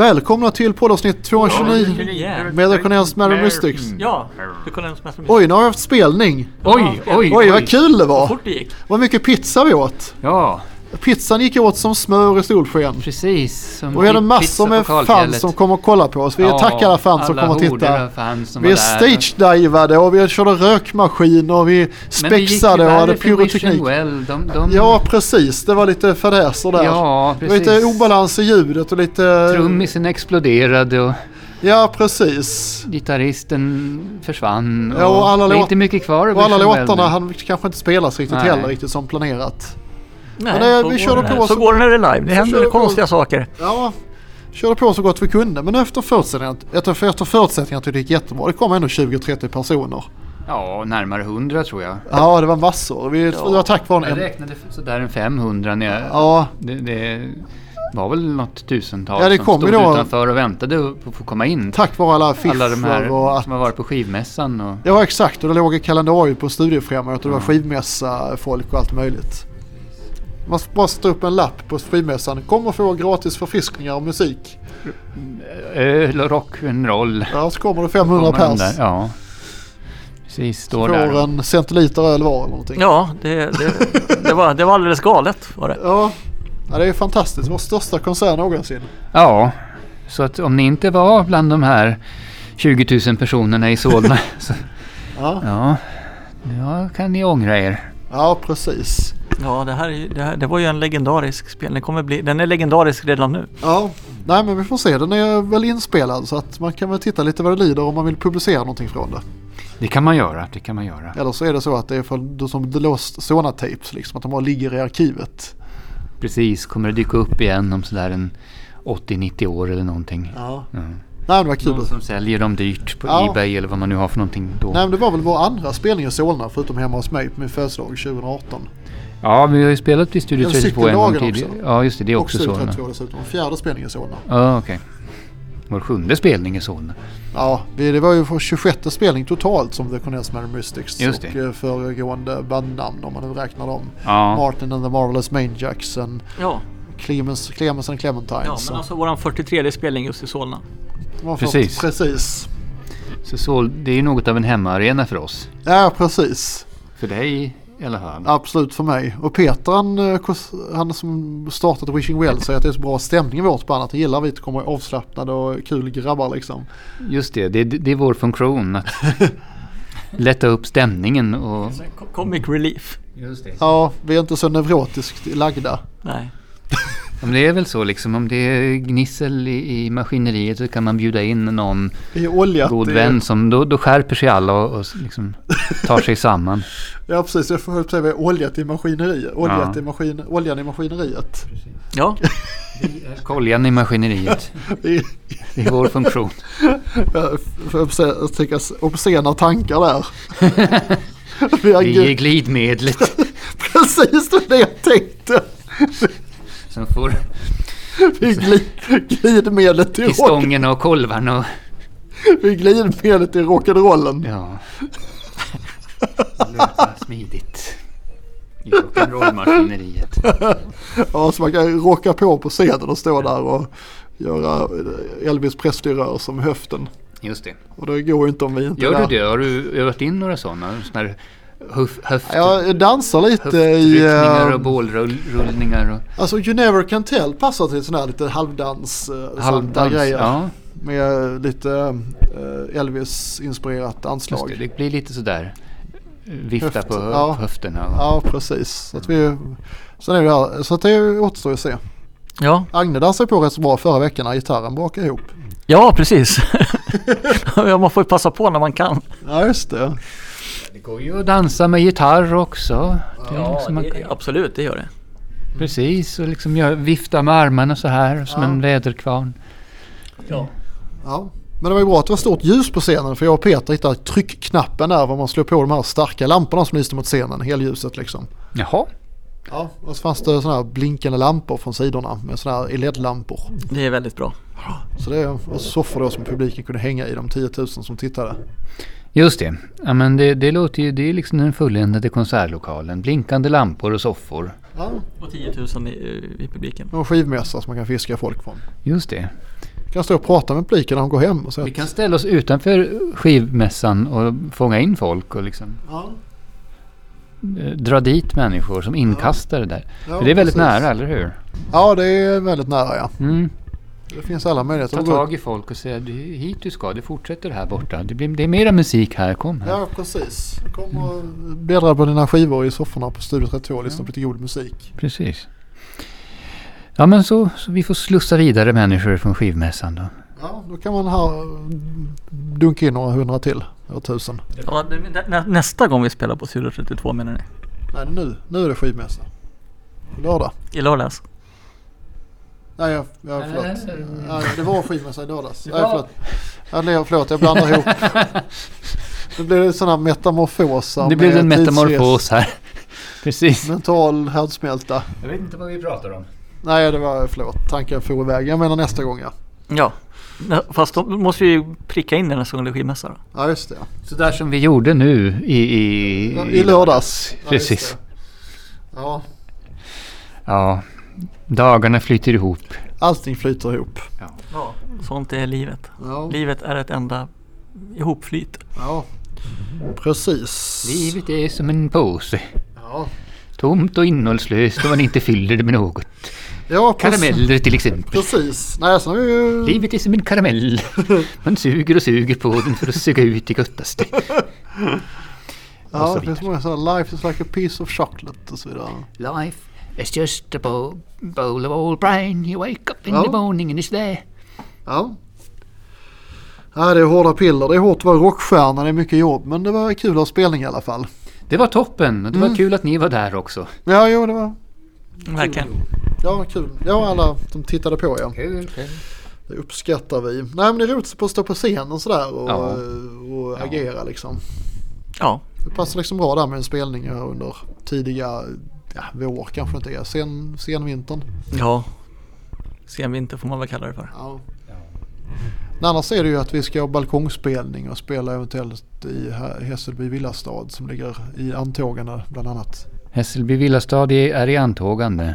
Välkomna till poddavsnitt 229 med The Cornelius Mary Mystics. Ja, du kunde ens mest Oj, nu har vi haft spelning. Oj, oj, Oj, vad kul det var. fort det gick. Vad mycket pizza vi åt. Ja, Pizzan gick åt som smör i solsken. precis. Som Och vi hade pi- massor med pizzapokalfjället. fans som kom och kollade på oss. Vi Ja, tackar alla fans som alla kom och horder av tittade. fans som Vi var där. stage-divade och vi körde rökmaskin och vi Men vi gick ju spexade och värre hade för Wish and pyroteknik. Well. De, de, Ja, precis. Det var lite fadäser där. Ja, Det var lite precis. obalans i ljudet och lite... Trummisen exploderade och Ja, precis. gitarristen försvann. Ja, och alla det är låt- inte mycket kvar av Och alla Wish and Well låtarna nu. han kanske inte spelas riktigt Nej. heller riktigt som planerat. Nej, det- så vi går körde det. på Så som- går det när det är live. Det händer körde på- konstiga saker. Ja, körde på så gott vi kunde men efter förutsättningarna, efter, efter förutsättningarna tyckte det gick jättebra. Det kom ändå 20-30 personer. Ja, närmare 100 tror jag. Ja, det var massor. Vi, Det var tack vare Jag en... räknade f- sådär en 500 när jag... Ja, Det, det var väl något tusental Ja, det kom som ju stod då- utanför och väntade på att få komma in. tack vare alla Alla de här affischer och att... som har varit på skivmässan och... Ja, exakt. Och det låg i kalendariet på studiefrämjandet och det var skivmässa, folk och allt möjligt. Man ska bara sätta upp en lapp på skivmässan. Kom och få gratis förfriskningar och musik. Öl och eh, rock'n'roll. Ja, så kommer det 500 Kommer de pers. där? Ja. Precis, står där. Får och- en centiliter öl var eller någonting. Ja, det, det, det, var, det var alldeles galet var det. Ja, ja det är fantastiskt. Vår största konsert någonsin. Ja, så att om ni inte var bland de här 20 000 personerna i Solna. så, Ja, ja, ja, kan ni ångra er. ja precis. Ja, det här, är ju- det här det var ju en legendarisk spelning. Den, kommer bli, den är legendarisk redan nu. Ja, nej men vi får se. Den är väl inspelad så att man kan väl titta lite vad det lider om man vill publicera någonting från det. Det kan man göra, det kan man göra. Eller så är det så att det är för, som The Lost Zona Tapes, liksom, att de bara ligger i arkivet. Precis, kommer det dyka upp igen om sådär en 80-90 år eller någonting. Ja. Mm. Nej men vad kul. Någon som säljer dem dyrt på Ja. Ebay eller vad man nu har för någonting då. Nej men det var väl vår andra spelning i Solna förutom hemma hos mig på min födelsedag 2018. Ja, vi har ju spelat vid Studio Ja, 32 en gång cykellagen tidigare. också. Ja, just det. Det är också Och Solna. 32 dessutom. Fjärde spelningen i Solna. Ja, okej. Vår sjunde spelning är Solna. Ja, vi- det var ju för 26 spelning totalt som The Cornels Mary Mystics Just det. och eh, föregående bandnamn om man nu räknar dem. Ja. Martin and the Marvelous Maniacs and Ja, Clemens, Clemens and Clementines. ja men alltså våran 43 spelning just i Solna. Man får- precis. precis. Så Sol, det är ju något av en hemmaarena för oss. Ja, precis. För dig i alla fall. Absolut för mig. Och Peter han, eh, kos- han som startat Wishing Well säger att det är så bra stämning i vårt band. Att det gillar vi att komma avslappnade och kul grabbar liksom. Just det, det, det är vår funktion att lätta upp stämningen och... Comic relief. Just det. Ja, vi är inte så neurotiskt lagda. Nej. Men det är väl så liksom, om det är gnissel i, i maskineriet så kan man bjuda in någon Vi är oljat. god i- vän som, då, då skärper sig alla och, och liksom tar sig samman. Ja, precis. Jag får säga vi är oljat i maskineriet. Oljat Ja. i maskin, oljan i maskineriet. Ja, Koljan i maskineriet, Vi- det är vår funktion. Jag får obs- tänka obscena tankar där. vi har Vi är gud, glidmedlet precis det var det jag tänkte. som får Vi är glid, glidmedlet i, i rock, stången och kolvarna och... vi är glidmedlet i rock'n'rollen. Ja. Löpa smidigt. I rock'n'roll-maskineriet. Ja, så man kan rocka på på scenen och stå där och göra Elvis Presley-rörelser med höften. Just det. Och det går ju inte om vi inte Gör är du där. det? Har du övat in några sådana? Sådana här höf, höft, Jag dansar lite i... höftryckningar och eh, bålrullningar och Alltså You Never Can Tell passar till sån här lite halvdans... eh, halvdans? såna grejer. Ja, Med lite eh, Elvis-inspirerat just det. anslag. Det blir lite sådär. eh, Vifta Höft, på hö- ja. höfterna. och- Ja, precis. Så att, vi, sen är det här, så att det återstår att se. ja, Agne dansade på rätt så bra förra veckan när gitarren brakade ihop. ja precis. Ja, man får ju passa på när man kan. Ja, just det. Det går ju att dansa med gitarr också. Det är liksom man kan- absolut, det gör det. Precis, och liksom gör, vifta med armarna så här som Ja. en väderkvarn. Ja. Ja. Men det var ju bra att det var stort ljus på scenen för jag och Peter hittade tryckknappen där var man slår på de här starka lamporna som lyste mot scenen, helljuset liksom. Jaha. Ja, och så fanns det sådana här blinkande lampor från sidorna med sådana här LED-lampor. Det är väldigt bra. Så det var soffor då som publiken kunde hänga i, de 10 000 som tittade. Just det. Ja, men det, det låter ju, det är liksom den fulländade konsertlokalen. Blinkande lampor och soffor. Ja, Och 10 000 i, i publiken. och skivmässa som man kan fiska folk från. Just det. kan stå och prata med publiken när de går hem. Och så Vi kan ställa oss utanför skivmässan och fånga in folk och liksom ja, eh, dra dit människor som inkastare där. ja, För det är väldigt precis. nära, eller hur? Ja, det är väldigt nära ja. Mm. Det finns alla möjligheter Ta att gå tag i folk och säga det är hit du ska, det fortsätter här borta. Det, blir, det är mera musik här, kom här. Ja, precis. Kom och Mm. bläddra på dina skivor i sofforna på Studio 32 och lyssna på lite god musik. Precis. Ja men så, så vi får slussa vidare människor från skivmässan då. Ja, då kan man här mm, dunka in några hundra till. Eller tusen. Ja, det- nä- nä, nästa gång vi spelar på Studio 32 menar ni? Nej, nu, nu är det skivmässa. På Lördag. I lördags? Nej, jag, jag Nej, förlåt. nej, nej. Nej, det var skivmässa i lördags. Det Nej, var- förlåt. Jag, ler- förlåt, jag blandar ihop. Nu blir det sådana metamorfoser. det blev med en tidsres- metamorfos här. Precis. Mental härdsmälta. Jag vet inte vad vi pratar om. Nej, det var förlåt. Tanken for iväg. Jag menar nästa gång ja. Ja. Nä, Fast då måste vi ju pricka in den här sången skivmässa då. Ja, just det. Så där som vi gjorde nu i... I, Ja, I lördags. Ja, just Precis. det. Ja, Ja. Dagarna flyter ihop. allting flyter ihop. Ja. Oh. Sånt är livet. Ja, Livet är ett enda ihopflyt. ja. precis. Livet är som en påse. Ja, Tomt och innehållslöst om man inte fyller det med något. ja precis. Karameller till exempel. Precis. Nej, sen har vi ju... Livet är som en karamell. Man suger och suger på den för att suga ut det göttaste. och Ja, så det finns många sådana. Life is like a piece of chocolate och så vidare. Life is just a bowl, bowl of old brine. You wake up in Ja. the morning and it's there. Ja. ja, det är hårda piller. Det är hårt att vara rockstjärna. Det är mycket jobb. Men det var kul att ha spelning i alla fall. Det var toppen. Det var kul att ni var där också. Ja, jo, det var... Verkligen. Ja, kul. Ja, alla som tittade på ja. Kul, kul. Det uppskattar vi. Nej, men det är roligt att stå på scen och sådär och, eh, Ja. och Ja. agera liksom. Ja. Det passar liksom bra där med en spelning här under tidiga ja, vår kanske inte är, sen, sen vintern. Ja. Senvinter får man väl kalla det för. Ja. Men annars är det ju att vi ska ha balkongspelning och spela eventuellt i Hä- Hässelby villastad som ligger i antågarna bland annat. Hässelby villastad är är i antågande.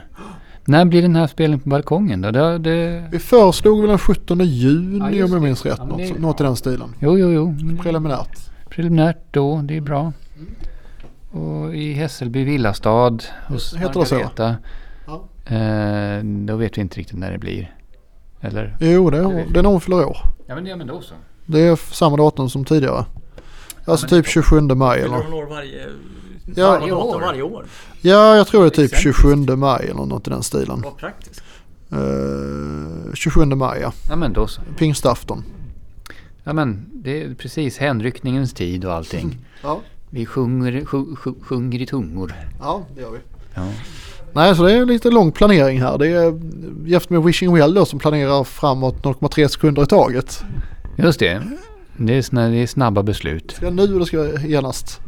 När blir den här spelningen på balkongen då? Det, det... Vi föreslog väl den 17 juni Ja, om just jag det. minns rätt, Ja, men det är något, bra. Mm. något i den stilen. Jo, jo, jo. men det- Preliminärt. Preliminärt då, det är bra. Och i Hässelby villastad hos Heter det så? Margareta. Ja. Eh, då vet vi inte riktigt när det blir. Eller? Jo, det är, det är när hon fyller år. Ja men, ja, men då så. Det är f- samma datum som tidigare. Alltså men- typ 27 maj eller år varje, Ja. varje år? varje år? Ja, jag tror det är typ Exempelvis. 27 maj eller något i den stilen. Vad praktiskt. Eh, 27 maj ja. Ja men då så. Pingstafton. Ja men det är precis hänryckningens tid och allting. Ja, Vi sjunger, sju, sju, sjunger i tungor. ja det gör vi. Ja. Nej, så det är lite lång planering här. Det är jämfört med Wishing Well då som planerar framåt 0,3 sekunder i taget. Just det. Det är, såna, det är snabba beslut. Ska jag nu eller ska jag genast?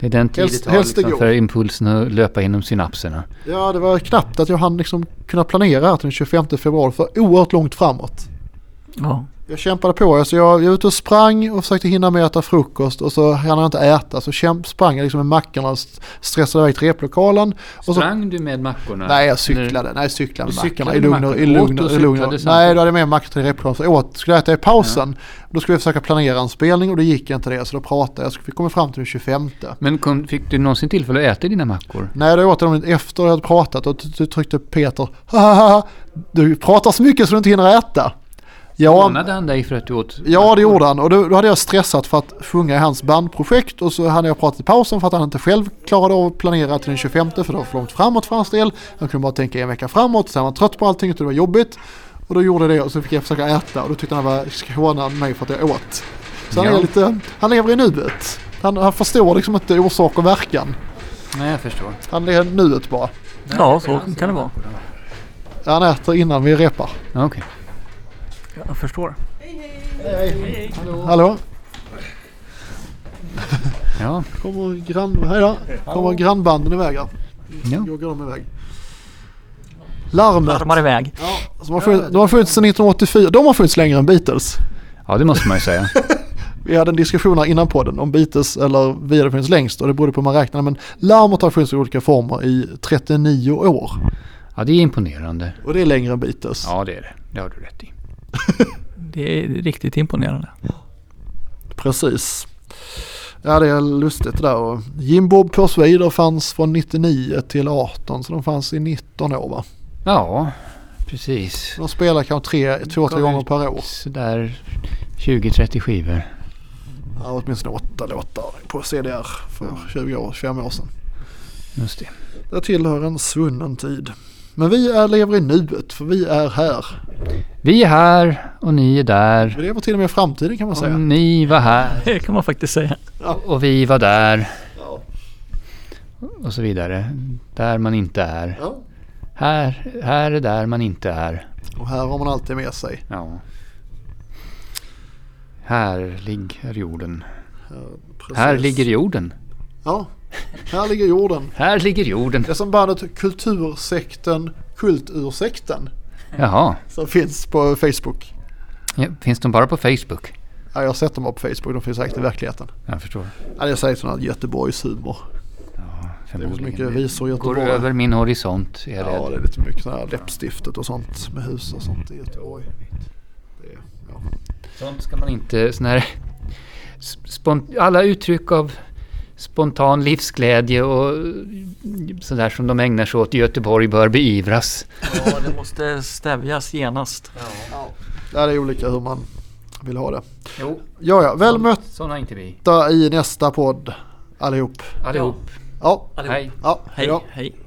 Det är den tid Helst- det tar helst det liksom, går. för impulsen att löpa inom synapserna. Ja, det var knappt att jag hann liksom kunna planera här till den 25 februari för oerhört långt framåt. Ja. Jag kämpade på. Alltså jag, jag var ute och sprang och försökte hinna med att äta frukost och så hann jag inte äta. Så kämp, sprang jag liksom med mackorna och st- stressade iväg till replokalen. Och så, Sprang du med mackorna? nej, jag cyklade. Nej, jag cyklade Du med mackorna cyklade i med lugn och i mackorna. lugn Åt och och i lugn. cyklade och- samtidigt. Nej, då hade jag med mackor till replokalen. Så jag åt, skulle jag äta i pausen. Då skulle jag försöka planera en spelning och då gick jag inte det. Så då pratade jag. Så vi kom fram till den 25. Men kom, fick du någonsin tillfälle att äta dina mackor? Nej, då åt jag dem efter jag hade pratat och t- t- tryckte Peter. "Hahaha, Du pratar så mycket så du inte hinner äta. Ja, Hånade han dig för att du åt? Ja det gjorde han och då, då hade jag stressat för att sjunga i hans bandprojekt och så hade jag pratat i pausen för att han inte själv klarade av att planera till den 25 för det var för långt framåt för hans del. Han kunde bara tänka en vecka framåt, sen var han trött på allting och det var jobbigt. Och då gjorde jag det och så fick jag försöka äta och då tyckte han var skånad mig för att jag åt. Så han, Ja. är lite, han lever i nuet. Han, han förstår liksom inte orsak och verkan. Nej, jag förstår. Han är nuet bara. Ja, så kan det vara. Han äter innan vi repar. Okej. Jag förstår. Hallå? Ja. Kommer, grann, hej då. Kommer grannbanden iväg här? ja. Då går de iväg. Larmet. Armar iväg. Som har funnits, de har funnits sedan 1984. De har funnits längre än Beatles. Ja, det måste man ju säga. Vi hade en diskussion här innan podden om Beatles eller vi hade funnits längst och det berodde på hur man räknar. Men larmet har funnits i olika former i 39 år. Ja, det är imponerande. Och det är längre än Beatles. Ja, det är det. Det har du rätt i. Det är riktigt imponerande. Precis. Ja, det är lustigt det där. Och Jim Bob Perswader fanns från 99 till 18, så de fanns i 19 år va? Ja, precis. De spelar kanske tre, två, tre Gav gånger ut per år. Sådär 20-30 skivor. Ja, åtminstone åtta låtar på CDR för 20 år, 25 år sedan. Just det. Det tillhör en svunnen tid. Men vi är, lever i nuet, för vi är här. Vi är här och ni är där. Vi lever till och med i framtiden kan man Och säga. ni var här Det kan man faktiskt säga. och vi var där. Ja. Och så vidare. Där man inte är. Ja. Här, här är där man inte är. Och här har man alltid med sig. Ja. Härlig är jorden. Precis. Här ligger jorden. Ja, här ligger jorden. Här ligger jorden. Det är som bandet Kultursekten, Kultursekten, Jaha. som finns på Facebook. Ja, finns de bara på Facebook? Ja, jag har sett dem på Facebook, de finns säkert i verkligheten. Jag förstår. Ja, det är säkert sån här Göteborgshumor. Det är så Förmodligen. mycket visor i Går Göteborg. över min horisont är jag Ja, det är rädd. lite mycket sån här läppstiftet och sånt med hus och sånt i Göteborg. Det är- ja. Sånt ska man inte... Sån här, spont, alla uttryck av spontan livsglädje och sådär som de ägnar sig åt i Göteborg bör beivras. Ja, det måste stävjas genast. Ja, det är olika hur man vill ha det. Jo, Ja, ja, väl sådana är inte vi. mötta i nästa podd allihop. Allihop. Ja, Hej. ja, Hej, ja. hej.